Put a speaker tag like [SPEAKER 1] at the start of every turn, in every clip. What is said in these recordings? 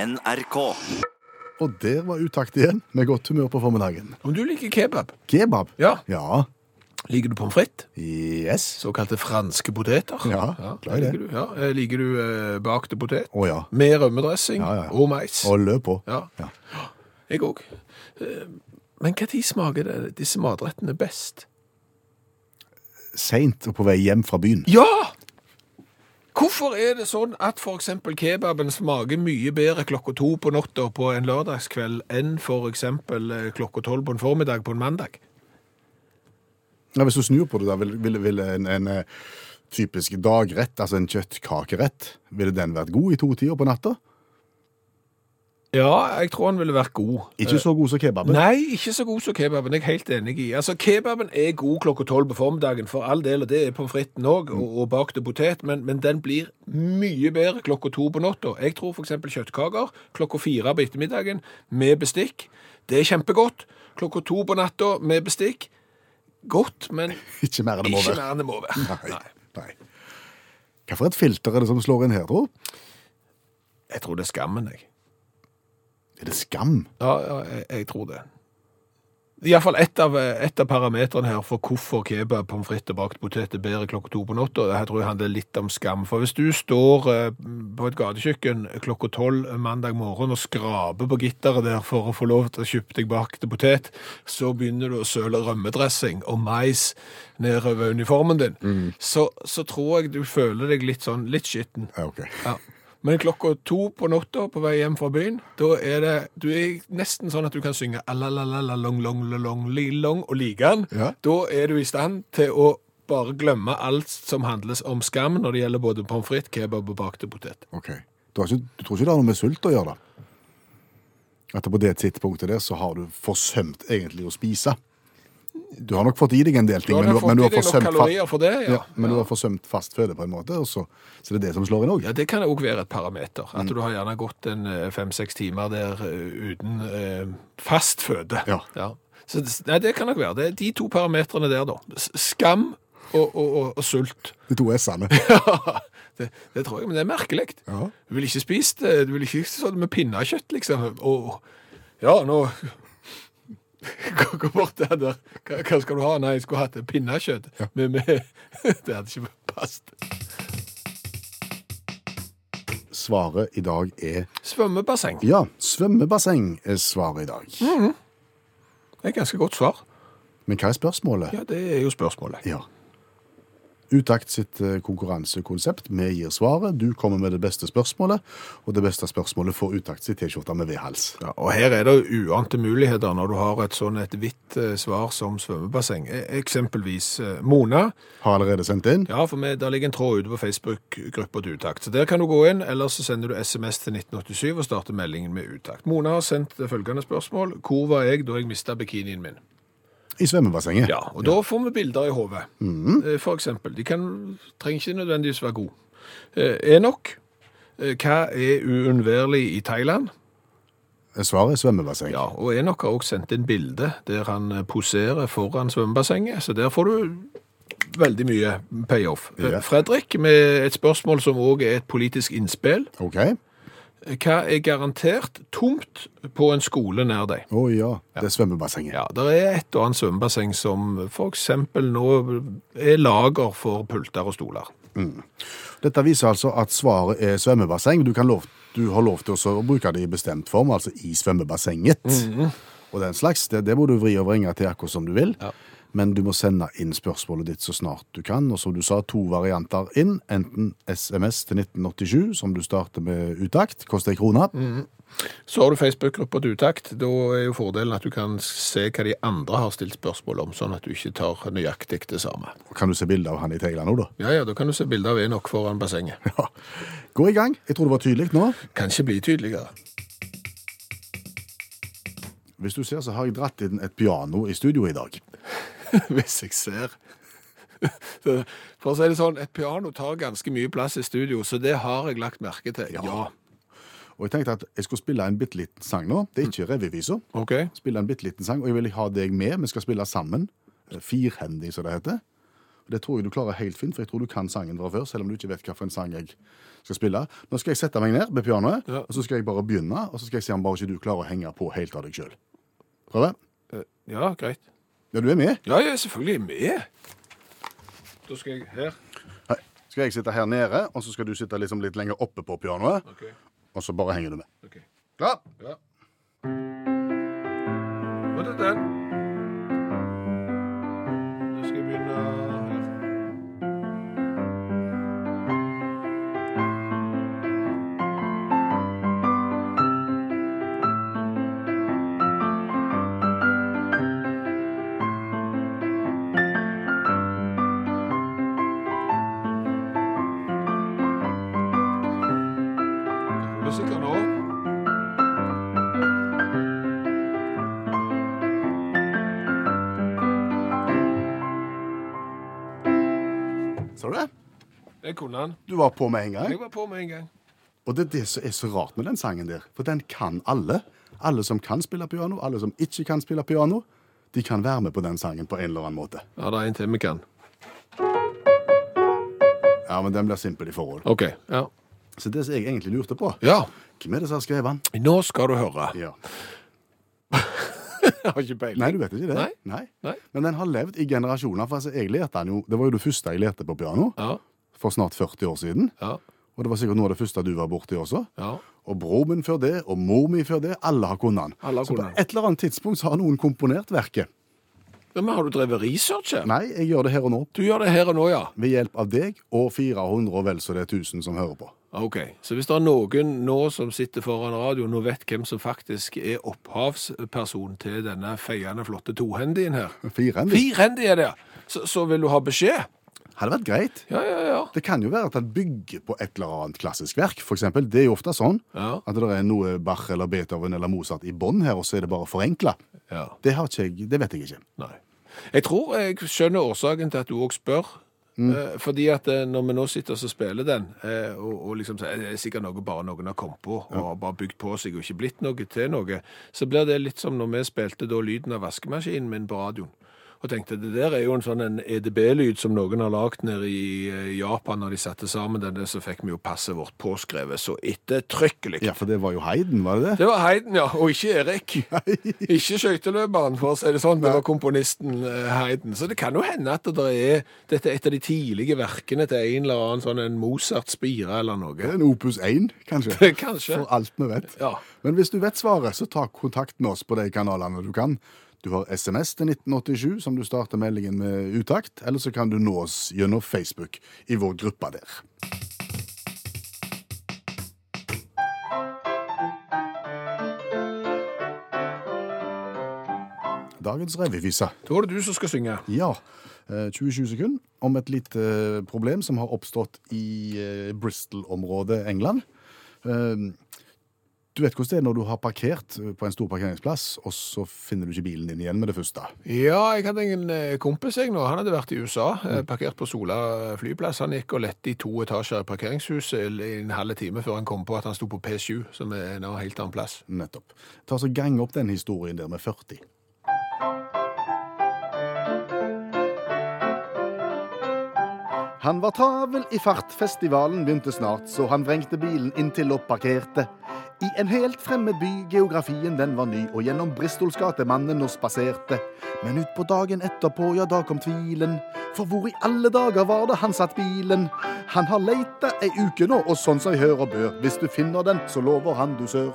[SPEAKER 1] NRK.
[SPEAKER 2] Og der var utakt igjen, med godt humør på formiddagen.
[SPEAKER 3] Om du liker kebab,
[SPEAKER 2] Kebab.
[SPEAKER 3] Ja.
[SPEAKER 2] Ja.
[SPEAKER 3] liker du pommes frites?
[SPEAKER 2] Yes.
[SPEAKER 3] Såkalte franske poteter?
[SPEAKER 2] Ja, glad i det.
[SPEAKER 3] liker du. Ja. Eh, Liker du eh, bakte potet?
[SPEAKER 2] Å ja.
[SPEAKER 3] Med rømmedressing
[SPEAKER 2] Ja, ja.
[SPEAKER 3] og mais?
[SPEAKER 2] Og løp på.
[SPEAKER 3] Ja.
[SPEAKER 2] Ja.
[SPEAKER 3] Jeg òg. Eh, Men når smaker det, disse matrettene best?
[SPEAKER 2] Seint og på vei hjem fra byen.
[SPEAKER 3] Ja! Hvorfor er det sånn at f.eks. kebaben smaker mye bedre klokka to på natta på en lørdagskveld enn f.eks. klokka tolv på en formiddag på en mandag?
[SPEAKER 2] Ja, hvis du snur på det, da, ville vil, vil en, en eh, typisk dagrett, altså en kjøttkakerett, ville den vært god i to tider på natta?
[SPEAKER 3] Ja, jeg tror han ville vært god.
[SPEAKER 2] Ikke så god som kebaben.
[SPEAKER 3] Nei, ikke så god som kebaben. Jeg er helt enig i. Altså, Kebaben er god klokka tolv på formiddagen, for all del, og det er pommes fritesen òg, og, og bakte potet, men, men den blir mye bedre klokka to på natta. Jeg tror f.eks. kjøttkaker klokka fire på ettermiddagen med bestikk. Det er kjempegodt. Klokka to på natta med bestikk. Godt, men
[SPEAKER 2] Ikke mer enn det må
[SPEAKER 3] ikke
[SPEAKER 2] være.
[SPEAKER 3] mer enn det må være.
[SPEAKER 2] Nei. Nei. Hva for et filter er det som slår inn her, tro?
[SPEAKER 3] Jeg tror det er skammen, jeg.
[SPEAKER 2] Er det skam?
[SPEAKER 3] Ja, ja jeg, jeg tror det. Iallfall ett av, et av parametrene her for hvorfor kebab, pommes frites og bakt potet er bedre klokka to på natta. Det her tror jeg handler litt om skam. For hvis du står eh, på et gatekjøkken klokka tolv mandag morgen og skraper på gitteret der for å få lov til å kjøpe deg bakte potet, så begynner du å søle rømmedressing og mais nedover uniformen din, så, så tror jeg du føler deg litt sånn litt skitten.
[SPEAKER 2] Ja, ok.
[SPEAKER 3] Ja. Men klokka to på natta på vei hjem fra byen, da er det Du er nesten sånn at du kan synge «Alalalala-long-long-long-li-long» og like den.
[SPEAKER 2] Ja.
[SPEAKER 3] Da er du i stand til å bare glemme alt som handles om skam når det gjelder både pommes frites, kebab og bakte potet.
[SPEAKER 2] Ok. Du, har ikke, du tror ikke det har noe med sult å gjøre? da? At på det tidspunktet der så har du forsømt egentlig å spise. Du har nok fått i deg en del ting,
[SPEAKER 3] Da
[SPEAKER 2] men
[SPEAKER 3] har
[SPEAKER 2] du,
[SPEAKER 3] du fått
[SPEAKER 2] men,
[SPEAKER 3] i
[SPEAKER 2] du har
[SPEAKER 3] deg nok
[SPEAKER 2] forsømt fa-
[SPEAKER 3] kalorier for det.
[SPEAKER 2] ja,
[SPEAKER 3] Ja,
[SPEAKER 2] men du har forsømt fastføde på en måte, og så, så det er det som slår inn òg.
[SPEAKER 3] Ja, Det kan òg være et parameter.
[SPEAKER 2] Mm.
[SPEAKER 3] At du har gjerne gått en eh, fem-seks timer der eh, uten eh, fast føde.
[SPEAKER 2] Ja.
[SPEAKER 3] Så, det- nei, det kan nok være. Det er de to parametrene der, da. S- Skam og, og, og, og sult.
[SPEAKER 2] De to s-ene.
[SPEAKER 3] Ja, det, det tror jeg, men det er merkelig.
[SPEAKER 2] Ja.
[SPEAKER 3] Du vil ikke spise det, du vil ikke spise sånn med pinnekjøtt, liksom. Og, ja, nå... Gå bort der, der. Hva, hva skal du ha? Nei, jeg skulle hatt pinnekjøtt. Men med, det hadde ikke passet.
[SPEAKER 2] Svaret i dag er
[SPEAKER 3] Svømmebasseng.
[SPEAKER 2] ja, svømmebasseng er svaret i dag.
[SPEAKER 3] Mm. Det er et ganske godt svar.
[SPEAKER 2] Men hva er spørsmålet?
[SPEAKER 3] Ja, det er jo spørsmålet.
[SPEAKER 2] Ja. Utakt sitt eh, konkurransekonsept. Vi gir svaret, du kommer med det beste spørsmålet, og det beste spørsmålet får Utakt sitt T-skjorte med V-hals.
[SPEAKER 3] Ja, og her er det jo uante muligheter når du har et sånn et hvitt eh, svar som svømmebasseng. E- Eksempelvis eh, Mona.
[SPEAKER 2] Har allerede sendt inn.
[SPEAKER 3] Ja, for med, der ligger en tråd ute på Facebook-gruppa til Utakt. Så der kan du gå inn, eller så sender du SMS til 1987 og starter meldingen med Utakt. Mona har sendt følgende spørsmål. Hvor var jeg da jeg mista bikinien min?
[SPEAKER 2] I svømmebassenget.
[SPEAKER 3] Ja, og da får vi bilder i hodet. Eh, For eksempel. De kan, trenger ikke nødvendigvis være gode. Eh, Enok. Eh, Hva er uunnværlig i Thailand?
[SPEAKER 2] Svaret er svømmebasseng.
[SPEAKER 3] Ja, og Enok har også sendt inn bilde der han eh, poserer foran svømmebassenget, så der får du veldig mye payoff. Eh,
[SPEAKER 2] Ja.
[SPEAKER 3] Fredrik, med et spørsmål som også er et politisk innspill.
[SPEAKER 2] Ok.
[SPEAKER 3] Hva er garantert tomt på en skole nær deg?
[SPEAKER 2] Å ja, det er svømmebassenget.
[SPEAKER 3] Ja, det er et og annet svømmebasseng som for eksempel nå er lager for pulter og stoler.
[SPEAKER 2] Dette viser altså at svaret er svømmebasseng. Du, kan lov, du har lov til også å bruke det i bestemt form, altså i svømmebassenget. Og den slags, det, det må du vri og vrenge til akkurat som du vil.
[SPEAKER 3] Mhm. Ja.
[SPEAKER 2] Men du må sende inn spørsmålet ditt så snart du kan. Og som du sa, to varianter inn. Enten SMS til 1987, som du starter med utakt, koster ei krone.
[SPEAKER 3] Mm. Så har du Facebook-gruppa til utakt. Da er jo fordelen at du kan se hva de andre har stilt spørsmål om, sånn at du ikke tar nøyaktig det samme.
[SPEAKER 2] Og Kan du se bilde av han i Teigland nå, da?
[SPEAKER 3] Ja, ja, da kan du se bilder av Enok foran bassenget.
[SPEAKER 2] Ja. Gå i gang. Jeg tror det var tydelig nå.
[SPEAKER 3] Kan ikke bli tydeligere.
[SPEAKER 2] Hvis du ser, så har jeg dratt inn et piano i studio i dag.
[SPEAKER 3] Hvis jeg ser. Så, For å si det sånn, et piano tar ganske mye plass i studio, så det har jeg lagt merke til. Ja.
[SPEAKER 2] Og jeg tenkte at jeg skulle spille en bitte liten sang nå. Det er ikke revyvisa.
[SPEAKER 3] Ok.
[SPEAKER 2] Spille en bitte liten sang, og jeg vil ha deg med. Vi skal spille sammen. Eh, Firhendig, som det heter. Det tror jeg du klarer helt fint, for jeg tror du kan sangen fra før, selv om du ikke vet hvilken sang jeg skal spille. Nå skal jeg sette meg ned ved pianoet,
[SPEAKER 3] Ja.
[SPEAKER 2] og så skal jeg bare begynne, og så skal jeg se om bare ikke du klarer å henge på helt av deg sjøl. Prøve?
[SPEAKER 3] Eh, Ja, greit.
[SPEAKER 2] Ja, du er med?
[SPEAKER 3] Ja, jeg er selvfølgelig med. Da skal jeg her.
[SPEAKER 2] Hei. Skal jeg sitte her nede, og så skal du sitte liksom litt lenger oppe på pianoet,
[SPEAKER 3] OK.
[SPEAKER 2] og så bare henger du med.
[SPEAKER 3] ok.
[SPEAKER 2] Klar?
[SPEAKER 3] Ja. Og det er den. Da skal jeg begynne her. Musikken nå.
[SPEAKER 2] Sa du det?
[SPEAKER 3] Det kunne han.
[SPEAKER 2] Du var på med en gang.
[SPEAKER 3] Jeg var på med en gang.
[SPEAKER 2] Og det er det som er så rart med den sangen der, for den kan alle. Alle som kan spille piano, alle som ikke kan spille piano, de kan være med på den sangen på en eller annen måte.
[SPEAKER 3] Ja, det er en til vi kan.
[SPEAKER 2] Ja, men den blir simpel i forhold.
[SPEAKER 3] OK. Ja.
[SPEAKER 2] Så det som jeg egentlig lurte på,
[SPEAKER 3] ja.
[SPEAKER 2] hvem er det som har skrevet den?
[SPEAKER 3] Nå skal du høre.
[SPEAKER 2] Ja.
[SPEAKER 3] Jeg har ikke peiling.
[SPEAKER 2] Nei, du vet ikke det?
[SPEAKER 3] Nei. Nei.
[SPEAKER 2] Men den har levd i generasjoner, for altså, jeg lærte den jo, det var jo det første jeg lærte på piano,
[SPEAKER 3] Ja.
[SPEAKER 2] for snart 40 år siden,
[SPEAKER 3] Ja.
[SPEAKER 2] og det var sikkert noe av det første du var borte i også.
[SPEAKER 3] Ja.
[SPEAKER 2] Og bror min før det, og mor mi før det, alle har kunnet den.
[SPEAKER 3] Alle har
[SPEAKER 2] så på
[SPEAKER 3] kunnet den.
[SPEAKER 2] et eller annet tidspunkt så har noen komponert verket.
[SPEAKER 3] Men har du drevet research her?
[SPEAKER 2] Nei, jeg gjør det her og nå.
[SPEAKER 3] Du gjør det her og nå, ja.
[SPEAKER 2] ved hjelp av deg og 400 og vel så det er 1000 som hører på.
[SPEAKER 3] OK. Så hvis det er noen nå som sitter foran radioen og vet hvem som faktisk er opphavsperson til denne feiende flotte tohendien her
[SPEAKER 2] Fire enn de.
[SPEAKER 3] Firehendig er det! Så, så vil du ha beskjed?
[SPEAKER 2] Hadde vært greit.
[SPEAKER 3] Ja, ja, ja.
[SPEAKER 2] Det kan jo være at han bygger på et eller annet klassisk verk, for eksempel. Det er jo ofte sånn
[SPEAKER 3] Ja.
[SPEAKER 2] at det er noe Bach eller Beethoven eller Mozart i bånn her, og så er det bare forenkla.
[SPEAKER 3] ja.
[SPEAKER 2] Det har ikke jeg, det vet jeg ikke.
[SPEAKER 3] Nei. Jeg tror jeg skjønner årsaken til at du òg spør. Eh, fordi at eh, når vi nå sitter og spiller den, eh, og, og liksom sier det er sikkert noe bare noen har kommet på, og har bare bygd på seg og ikke blitt noe til noe, så blir det litt som når vi spilte da lyden av vaskemaskinen min på radioen. Og tenkte det der er jo en sånn en EDB-lyd som noen har lagd nede i eh, Japan når de satte sammen den, der, så fikk vi jo passet vårt påskrevet så ettertrykkelig.
[SPEAKER 2] Ja, for det var jo Heiden, var det det?
[SPEAKER 3] Det var Heiden, ja, og ikke Erik. Ikke skøyteløperen, for å si det sånn. Det var komponisten eh, Heiden. Så det kan jo hende at det er dette er et av de tidlige verkene til en eller annen sånn en Mozart spire eller noe.
[SPEAKER 2] En opus 1, kanskje?
[SPEAKER 3] Kanskje.
[SPEAKER 2] For alt vi vet.
[SPEAKER 3] Ja.
[SPEAKER 2] Men hvis du vet svaret, så ta kontakt med oss på de kanalene du kan. Du har SMS til 1987, som du starter meldingen med utakt, eller så kan du nå oss gjennom Facebook i vår gruppe der. Dagens revyvise.
[SPEAKER 3] Da er det du som skal synge.
[SPEAKER 2] Ja, eh, 27 sekunder om et lite problem som har oppstått i eh, Bristol-området England. Eh, Du vet hvordan det er når du har parkert eh, på en stor parkeringsplass, og så finner du ikke bilen din igjen med det første.
[SPEAKER 3] Ja, jeg hadde en eh, kompis jeg nå. Han hadde vært i USA, eh, parkert på Sola eh, flyplass. Han gikk og lette i to etasjer i parkeringshuset i en halv time før han kom på at han sto på P7, som er en helt annen plass.
[SPEAKER 2] Nettopp. Ta så Gang opp den historien der med 40. Han var travel i fart, festivalen begynte snart, så han vrengte bilen inntil og parkerte. I en helt fremmed by, geografien den var ny, og gjennom Bristols gate mannen nå spaserte. Men utpå dagen etterpå, ja, da kom tvilen. For hvor i alle dager var det han satt bilen? Han har leita ei uke nå, og sånn som jeg hører bør. Hvis du finner den, så lover han du sør.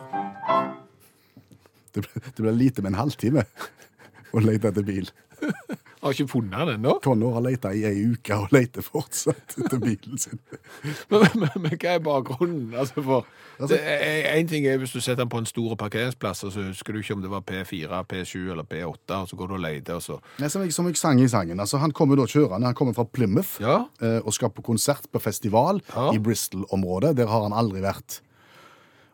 [SPEAKER 2] Det ble, det ble lite med en halvtime å lete etter bil.
[SPEAKER 3] Har ikke funnet han ennå.
[SPEAKER 2] Connor har leta i ei uke og leter fortsatt etter bilen sin.
[SPEAKER 3] Men, men, men hva er bakgrunnen? Altså for,
[SPEAKER 2] Altså-
[SPEAKER 3] det er, en ting er hvis du setter den på en stor parkeringsplass, og så husker du ikke om det var P4, P7 eller P8, og så går du og leter, og så
[SPEAKER 2] Nei, som, jeg, som jeg sang i sangen, altså Han kommer da kjørende, han kommer fra Plymouth
[SPEAKER 3] Ja.
[SPEAKER 2] eh, og skal på konsert på festival
[SPEAKER 3] Ja.
[SPEAKER 2] i Bristol-området. Der har han aldri vært.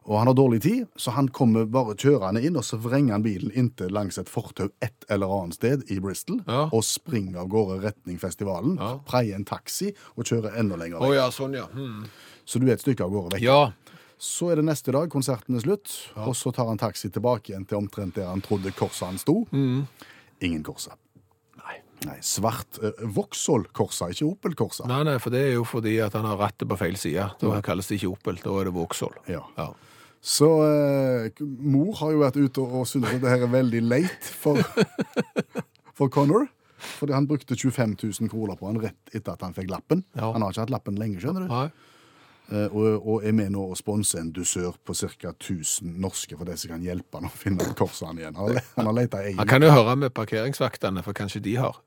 [SPEAKER 2] Og han har dårlig tid, så han kommer bare kjørende inn, og så vrenger han bilen inntil langs et fortau et eller annet sted i Bristol,
[SPEAKER 3] Ja.
[SPEAKER 2] og springer av gårde retning festivalen,
[SPEAKER 3] Ja.
[SPEAKER 2] preier en taxi og kjører enda lenger
[SPEAKER 3] Å
[SPEAKER 2] vekk.
[SPEAKER 3] ja, sånn, ja. Hmm.
[SPEAKER 2] Så du er et stykke av gårde vekk.
[SPEAKER 3] Ja.
[SPEAKER 2] Så er det neste dag, konserten er slutt, og så tar han taxi tilbake igjen til omtrent der han trodde korset han sto. Ingen korset.
[SPEAKER 3] Mm. Nei.
[SPEAKER 2] Nei, svart eh, Vauxhall Corsa, ikke Opel Corsa.
[SPEAKER 3] Nei, nei, for det er jo fordi at han har rattet på feil side. Da kalles det ikke Opel, da er det Vauxhall.
[SPEAKER 2] Ja.
[SPEAKER 3] Ja.
[SPEAKER 2] Så eh, k- mor har jo vært ute og syntes at det her er veldig leit for, for Connor. Fordi han brukte 25 000 kroner på han rett etter at han fikk lappen.
[SPEAKER 3] Ja.
[SPEAKER 2] Han har ikke hatt lappen lenge, skjønner du.
[SPEAKER 3] Nei.
[SPEAKER 2] Eh, og, og er med nå å sponse en dusør på ca. 1000 norske for det som kan hjelpe han å finne korset han igjen. Han har le- Han har leita
[SPEAKER 3] Han
[SPEAKER 2] egen.
[SPEAKER 3] kan jo høre med parkeringsvaktene, for kanskje de har.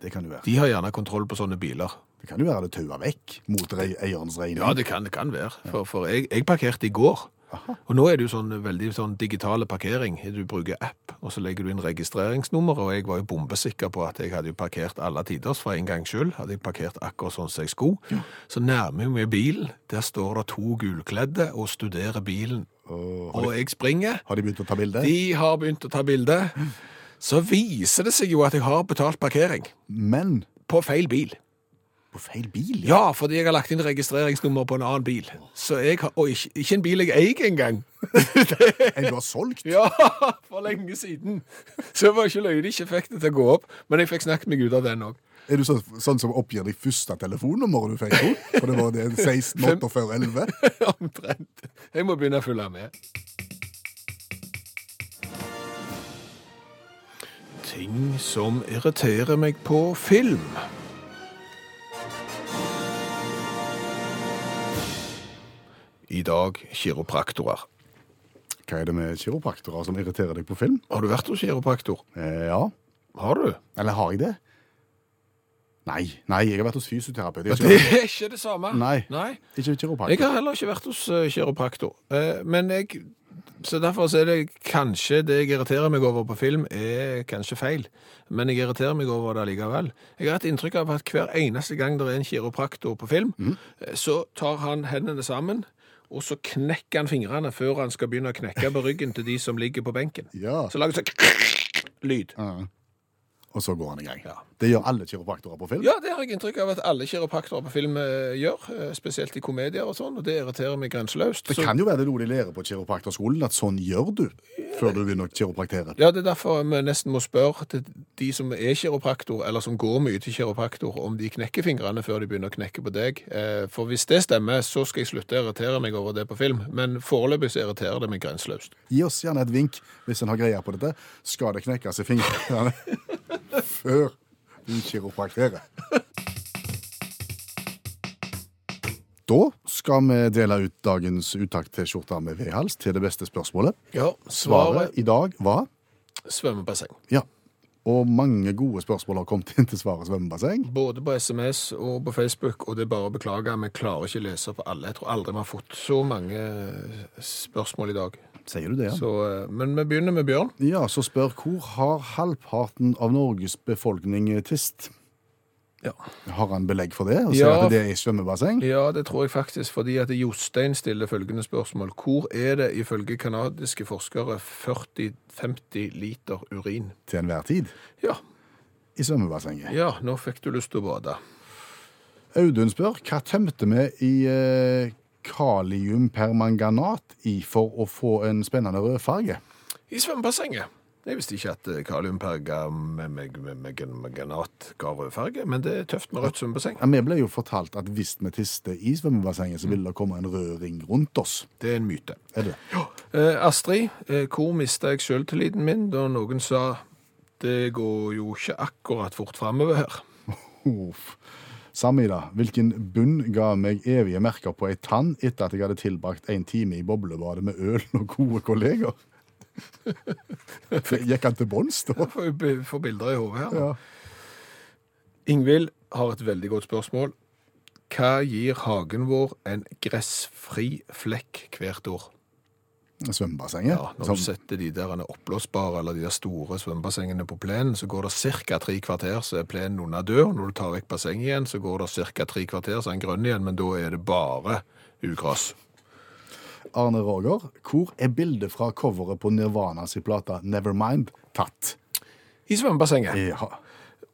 [SPEAKER 2] Det kan jo være.
[SPEAKER 3] De har gjerne kontroll på sånne biler.
[SPEAKER 2] Det kan jo være det taua vekk mot rei- eierens regning.
[SPEAKER 3] Ja, det kan, det kan være. For, for jeg, jeg parkerte i går. Og nå er det jo sånn veldig sånn digitale parkering. Du bruker app, og så legger du inn registreringsnummer, og jeg var jo bombesikker på at jeg hadde jo parkert alle tiders for en gang skyld. Hadde jeg parkert akkurat sånn som jeg skulle. Så nærmer jeg meg bilen. Der står det to gulkledde og studerer bilen. Og jeg springer.
[SPEAKER 2] Har de begynt å ta bilde?
[SPEAKER 3] De har begynt å ta bilde. Så viser det seg jo at jeg har betalt parkering
[SPEAKER 2] Men
[SPEAKER 3] på feil bil.
[SPEAKER 2] på feil bil?
[SPEAKER 3] Ja, fordi jeg har lagt inn registreringsnummer på en annen bil. Så jeg har, Og ikke, ikke en bil jeg eier engang.
[SPEAKER 2] En du har solgt?
[SPEAKER 3] Ja, for lenge siden. Så det var ikke løye de ikke fikk det til å gå opp. Men jeg fikk snakket meg ut av den òg.
[SPEAKER 2] Er du sånn, sånn som oppgir de første telefonnummeret du fikk? jo? For det var det 16, 8 før 11?
[SPEAKER 3] Omtrent. Jeg må begynne å følge med. Ting som irriterer meg på film. I dag kiropraktorer.
[SPEAKER 2] Hva er det med kiropraktorer som irriterer deg på film?
[SPEAKER 3] Har du vært hos kiropraktor?
[SPEAKER 2] Eh, ja.
[SPEAKER 3] Har du?
[SPEAKER 2] Eller har jeg det? Nei, nei, jeg har vært hos fysioterapeut.
[SPEAKER 3] Det
[SPEAKER 2] Ikke,
[SPEAKER 3] er ikke det samme.
[SPEAKER 2] Nei. ikke kiropraktor.
[SPEAKER 3] Jeg har heller ikke vært hos eh, kiropraktor. Eh, Men jeg Så derfor så er det kanskje det jeg irriterer meg over på film, er kanskje feil. Men jeg irriterer meg over det likevel. Jeg har hatt inntrykk av at hver eneste gang det er en kiropraktor på film, eh, så tar han hendene sammen, og så knekker han fingrene før han skal begynne å knekke på ryggen til de som ligger på benken.
[SPEAKER 2] Ja. Ah.
[SPEAKER 3] Så lager det sånn lyd.
[SPEAKER 2] Og så går han i gang.
[SPEAKER 3] Ja.
[SPEAKER 2] Det gjør alle kiropraktorer på film.
[SPEAKER 3] Ja, det har jeg inntrykk av at alle kiropraktorer på film eh, gjør, eh, spesielt i komedier og sånn, og det irriterer meg grenseløst.
[SPEAKER 2] Det
[SPEAKER 3] Så-
[SPEAKER 2] kan jo være det noe de lærer på kiropraktorskolen, at sånn gjør du før du begynner å kiropraktere.
[SPEAKER 3] Ja, det er derfor vi nesten må spørre til de som er kiropraktor, eller som går mye til kiropraktor, om de knekker fingrene før de begynner å knekke på deg. Eh, For hvis det stemmer, så skal jeg slutte å irritere meg over det på film, men foreløpig så irriterer det meg grenseløst.
[SPEAKER 2] Gi oss gjerne et vink hvis en har greie på dette. Skal det knekkes i fingrene før du kiroprakterer? Da skal vi dele ut dagens utakt-T-skjorter med V-hals til det beste spørsmålet.
[SPEAKER 3] Ja, svaret
[SPEAKER 2] Svaret i dag var
[SPEAKER 3] svømmebasseng.
[SPEAKER 2] ja. Og mange gode spørsmål har kommet inn til svaret svømmebasseng.
[SPEAKER 3] Både på SMS og på Facebook, og det er bare å beklage, vi klarer ikke å lese på alle. Jeg tror aldri vi har fått så mange eh, spørsmål i dag.
[SPEAKER 2] Sier du det, ja?
[SPEAKER 3] Så, eh, men vi begynner med Bjørn.
[SPEAKER 2] Ja, så spør hvor har halvparten av Norges befolkning tist?
[SPEAKER 3] Ja.
[SPEAKER 2] Har han belegg for det? Og sier
[SPEAKER 3] Ja.
[SPEAKER 2] at det er svømmebasseng?
[SPEAKER 3] Ja, det tror jeg faktisk, fordi at Jostein stiller følgende spørsmål. Hvor er det ifølge kanadiske forskere 40-50 liter urin?
[SPEAKER 2] Til enhver tid?
[SPEAKER 3] Ja,
[SPEAKER 2] i svømmebassenget.
[SPEAKER 3] ja, nå fikk du lyst til å bade.
[SPEAKER 2] Audun spør hva tømte vi i eh, kaliumpermanganat i for å få en spennende rødfarge?
[SPEAKER 3] I svømmebassenget. Jeg visste ikke at eh, kaliumpergamanganat ga rødfarge, men det er tøft med rødt svømmebasseng.
[SPEAKER 2] Ja, vi ble jo fortalt at hvis vi tister i svømmebassenget, så ville det komme en rød ring rundt oss.
[SPEAKER 3] Det er en myte.
[SPEAKER 2] Er det?
[SPEAKER 3] Eh, Astrid, eh, hvor mista jeg sjøltilliten min da noen sa det går jo ikke akkurat fort framover her?
[SPEAKER 2] Uff. Samida, hvilken bunn ga meg evige merker på ei tann etter at jeg hadde tilbrakt en time i boblebadet med øl og gode kolleger? Gikk han til bånns da?
[SPEAKER 3] Jeg får, jo bi- får bilder i hodet her. nå.
[SPEAKER 2] Ja.
[SPEAKER 3] Ingvild har et veldig godt spørsmål. Hva gir hagen vår en gressfri flekk hvert år?
[SPEAKER 2] Svømmebassenget?
[SPEAKER 3] Ja, Når
[SPEAKER 2] Som-
[SPEAKER 3] du setter de der oppblåsbare eller de der store svømmebassengene på plenen, så går det ca. tre kvarter, så er plenen under død. Når du tar vekk bassenget igjen, så går det ca. tre kvarter, så er den grønn igjen, men da er det bare ugress.
[SPEAKER 2] Arne Roger, hvor er bildet fra coveret på Nirvana si plate Nevermind tatt?
[SPEAKER 3] I svømmebassenget.
[SPEAKER 2] Ja.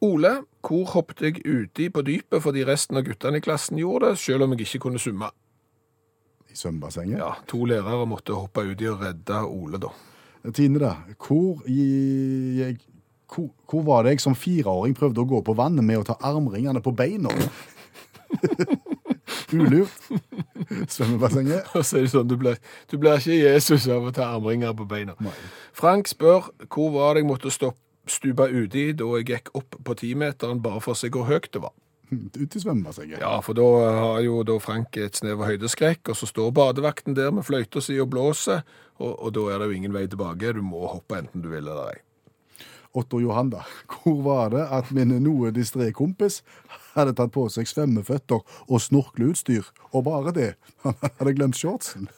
[SPEAKER 3] Ole, hvor hoppet jeg uti på dypet fordi resten av guttene i klassen gjorde det, selv om jeg ikke kunne summe?
[SPEAKER 2] I svømmebassenget.
[SPEAKER 3] Ja, to lærere måtte hoppe uti og redde Ole, da.
[SPEAKER 2] Tine, da. Hvor, gi- jeg, Hvor, hvor var det jeg som fireåring prøvde å gå på vannet med å ta armringene på beina? Ulurt. Svømmebassenget.
[SPEAKER 3] Og så er det sånn, du blir, du blir ikke Jesus av å ta armringer på beina. Frank spør hvor var det jeg måtte stopp, stupe uti da jeg gikk opp på timeteren bare for å se hvor høyt det var.
[SPEAKER 2] Ut i svømmebassenget.
[SPEAKER 3] Ja, for da har jo da Frank et snev av høydeskrekk, og så står badevakten der med fløyta si og blåser, og, og da er det jo ingen vei tilbake. Du må hoppe enten du vil eller ei.
[SPEAKER 2] Otto Johan, da. Hvor var det at min noe distré kompis hadde tatt på seg svømmeføtter og snorkleutstyr, og bare det? Han hadde glemt shortsen.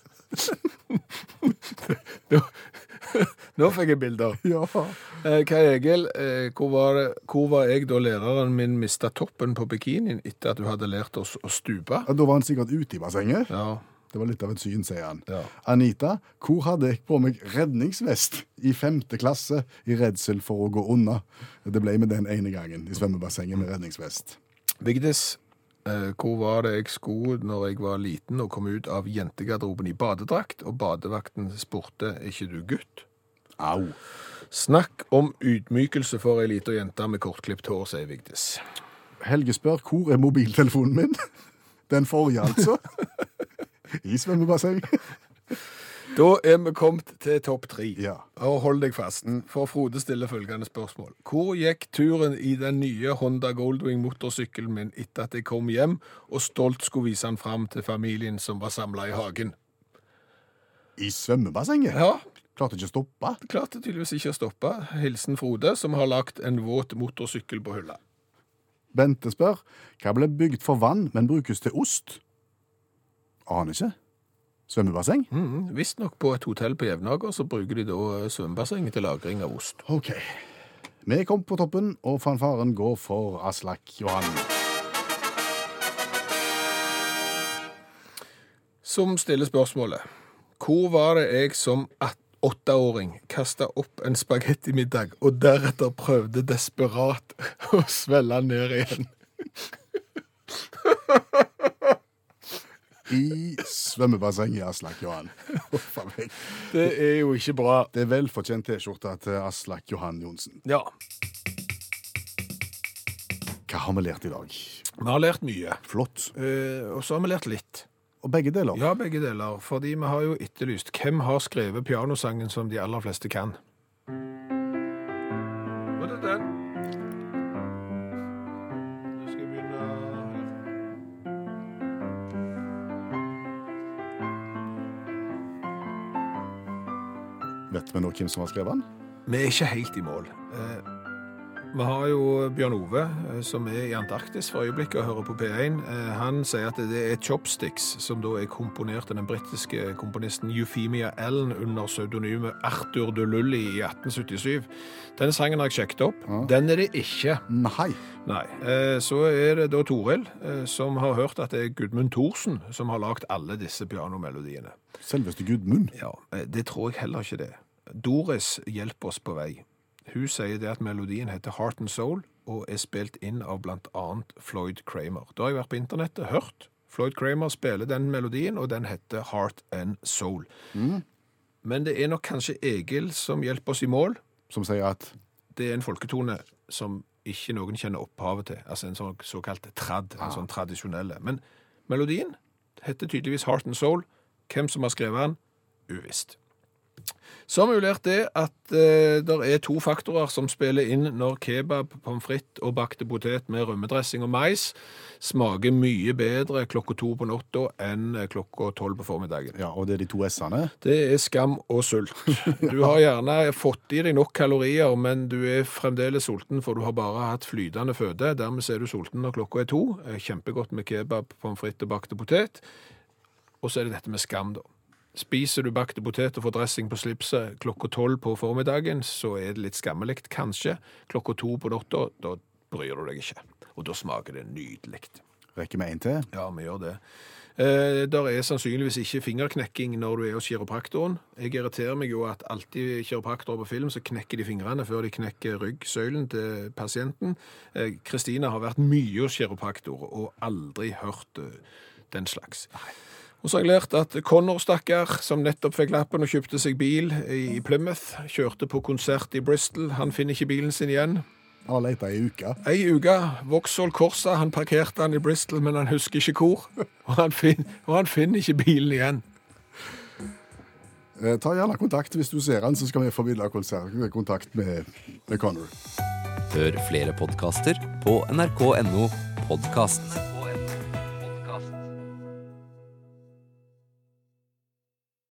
[SPEAKER 3] Nå, nå fikk jeg bilder.
[SPEAKER 2] Ja.
[SPEAKER 3] Eh, Kai Egil, eh, hvor var, det, hvor var jeg da læreren min mista toppen på bikinien etter at du hadde lært oss å stupe?
[SPEAKER 2] Ja, Da var han sikkert ute i bassenget.
[SPEAKER 3] Ja,
[SPEAKER 2] Det var litt av et syn, sier han.
[SPEAKER 3] Ja.
[SPEAKER 2] Anita, hvor hadde jeg på meg redningsvest i femte klasse i redsel for å gå unna? Det ble med den ene gangen i svømmebassenget med redningsvest.
[SPEAKER 3] Vigdis, eh, hvor var det jeg skulle når jeg var liten og kom ut av jentegarderoben i badedrakt, og badevakten spurte er ikke du gutt?
[SPEAKER 2] Au.
[SPEAKER 3] Snakk om ydmykelse for ei lita jente med kortklipt hår, sier Vigdis.
[SPEAKER 2] Helge spør hvor er mobiltelefonen min? Den forrige, altså. I svømmebassenget.
[SPEAKER 3] Da er vi kommet til topp tre.
[SPEAKER 2] Ja.
[SPEAKER 3] Og hold deg fast, for Frode stiller følgende spørsmål. Hvor gikk turen i den nye Honda Goldwing-motorsykkelen min etter at jeg kom hjem og stolt skulle vise den fram til familien som var samla i hagen?
[SPEAKER 2] I svømmebassenget?
[SPEAKER 3] Ja,
[SPEAKER 2] Klarte ikke å stoppe.
[SPEAKER 3] klarte tydeligvis ikke å stoppe. Hilsen Frode, som har lagt en våt motorsykkel på hylla.
[SPEAKER 2] Bente spør hva ble bygd for vann, men brukes til ost? Aner ikke. Svømmebasseng?
[SPEAKER 3] Mm, Visstnok på et hotell på Jevnaker så bruker de da eh, svømmebassenget til lagring av ost.
[SPEAKER 2] OK. Vi kom på toppen, og fanfaren går for Aslak Johan.
[SPEAKER 3] som stiller spørsmålet Hvor var det jeg som at- åtteåring kasta opp en spagettimiddag og deretter prøvde desperat å svelle den ned igjen?
[SPEAKER 2] I svømmebassenget, Aslak Johan. Huff a meg.
[SPEAKER 3] Det er jo ikke bra.
[SPEAKER 2] Det er velfortjent T-skjorte til Aslak Johan Johnsen.
[SPEAKER 3] Ja.
[SPEAKER 2] Hva har vi lært i dag?
[SPEAKER 3] Vi har lært mye.
[SPEAKER 2] Flott.
[SPEAKER 3] Eh, og så har vi lært litt.
[SPEAKER 2] Og begge deler.
[SPEAKER 3] Ja, begge deler. Fordi vi har jo etterlyst hvem har skrevet pianosangen som de aller fleste kan. Og det er den. Nå skal jeg begynne her.
[SPEAKER 2] Vet vi nå hvem som har skrevet den?
[SPEAKER 3] Vi er ikke helt i mål. Eh, Vi har jo Bjørn Ove, eh, som er i Antarktis for øyeblikket og hører på P1. Eh, Han sier at det er Chopsticks, som da er komponert av den britiske komponisten Euphemia Allen under pseudonymet Arthur de Lully i 1877. Den sangen har jeg sjekket opp. Den er det ikke.
[SPEAKER 2] Nei.
[SPEAKER 3] Nei. Eh, Så er det da Toril, eh, som har hørt at det er Gudmund Thorsen som har lagd alle disse pianomelodiene.
[SPEAKER 2] Selveste Gudmund.
[SPEAKER 3] Ja, eh, det tror jeg heller ikke det. Doris hjelper oss på vei. Hun sier det at melodien heter Heart and Soul, og er spilt inn av blant annet Floyd Kramer. Da har jeg vært på internettet, hørt. Floyd Kramer spiller den melodien, og den heter Heart and Soul. Men det er nok kanskje Egil som hjelper oss i mål.
[SPEAKER 2] som sier at
[SPEAKER 3] Det er en folketone som ikke noen kjenner opphavet til, altså en sånn såkalt trad, en sånn tradisjonelle. Men melodien heter tydeligvis Heart and Soul. Hvem som har skrevet den, uvisst. Så har vi jo lært det at eh, det er to faktorer som spiller inn når kebab, pommes frites og bakte potet med rømmedressing og mais smaker mye bedre klokka to på natta enn klokka tolv på formiddagen.
[SPEAKER 2] Ja, og det er de to S-ene.
[SPEAKER 3] Det er skam og sult. Du har gjerne fått i deg nok kalorier, men du er fremdeles sulten, for du har bare hatt flytende føde. Dermed er du sulten når klokka er to. Eh, Kjempegodt med kebab, pommes frites og bakte potet. Og så er det dette med skam, da. Spiser du bakte potet og får dressing på slipset klokka tolv på formiddagen, så er det litt skammelig, kanskje. Klokka to på natta, da bryr du deg ikke. Og da smaker det nydelig.
[SPEAKER 2] Rekker vi en til?
[SPEAKER 3] Ja, vi gjør det. Eh, der er sannsynligvis ikke fingerknekking når du er hos kiropraktoren. Jeg irriterer meg jo at alltid kiropraktorer på film så knekker de fingrene før de knekker ryggsøylen til pasienten. Eh, Kristina har vært mye hos kiropraktor og aldri hørt eh, den slags. Og så har jeg lært at Connor, stakkar, som nettopp fikk lappen og kjøpte seg bil i Plymouth, kjørte på konsert i Bristol, han finner ikke bilen sin igjen.
[SPEAKER 2] Han har leita ei uke.
[SPEAKER 3] Ei uke, Vauxhall Corsa, han parkerte han i Bristol, men han husker ikke hvor. Og han, fin og han finner ikke bilen igjen.
[SPEAKER 2] Eh, Ta gjerne kontakt hvis du ser han, så skal vi formidle konser- kontakt med, med Connor.
[SPEAKER 1] Hør flere podkaster på nrk.no podkast.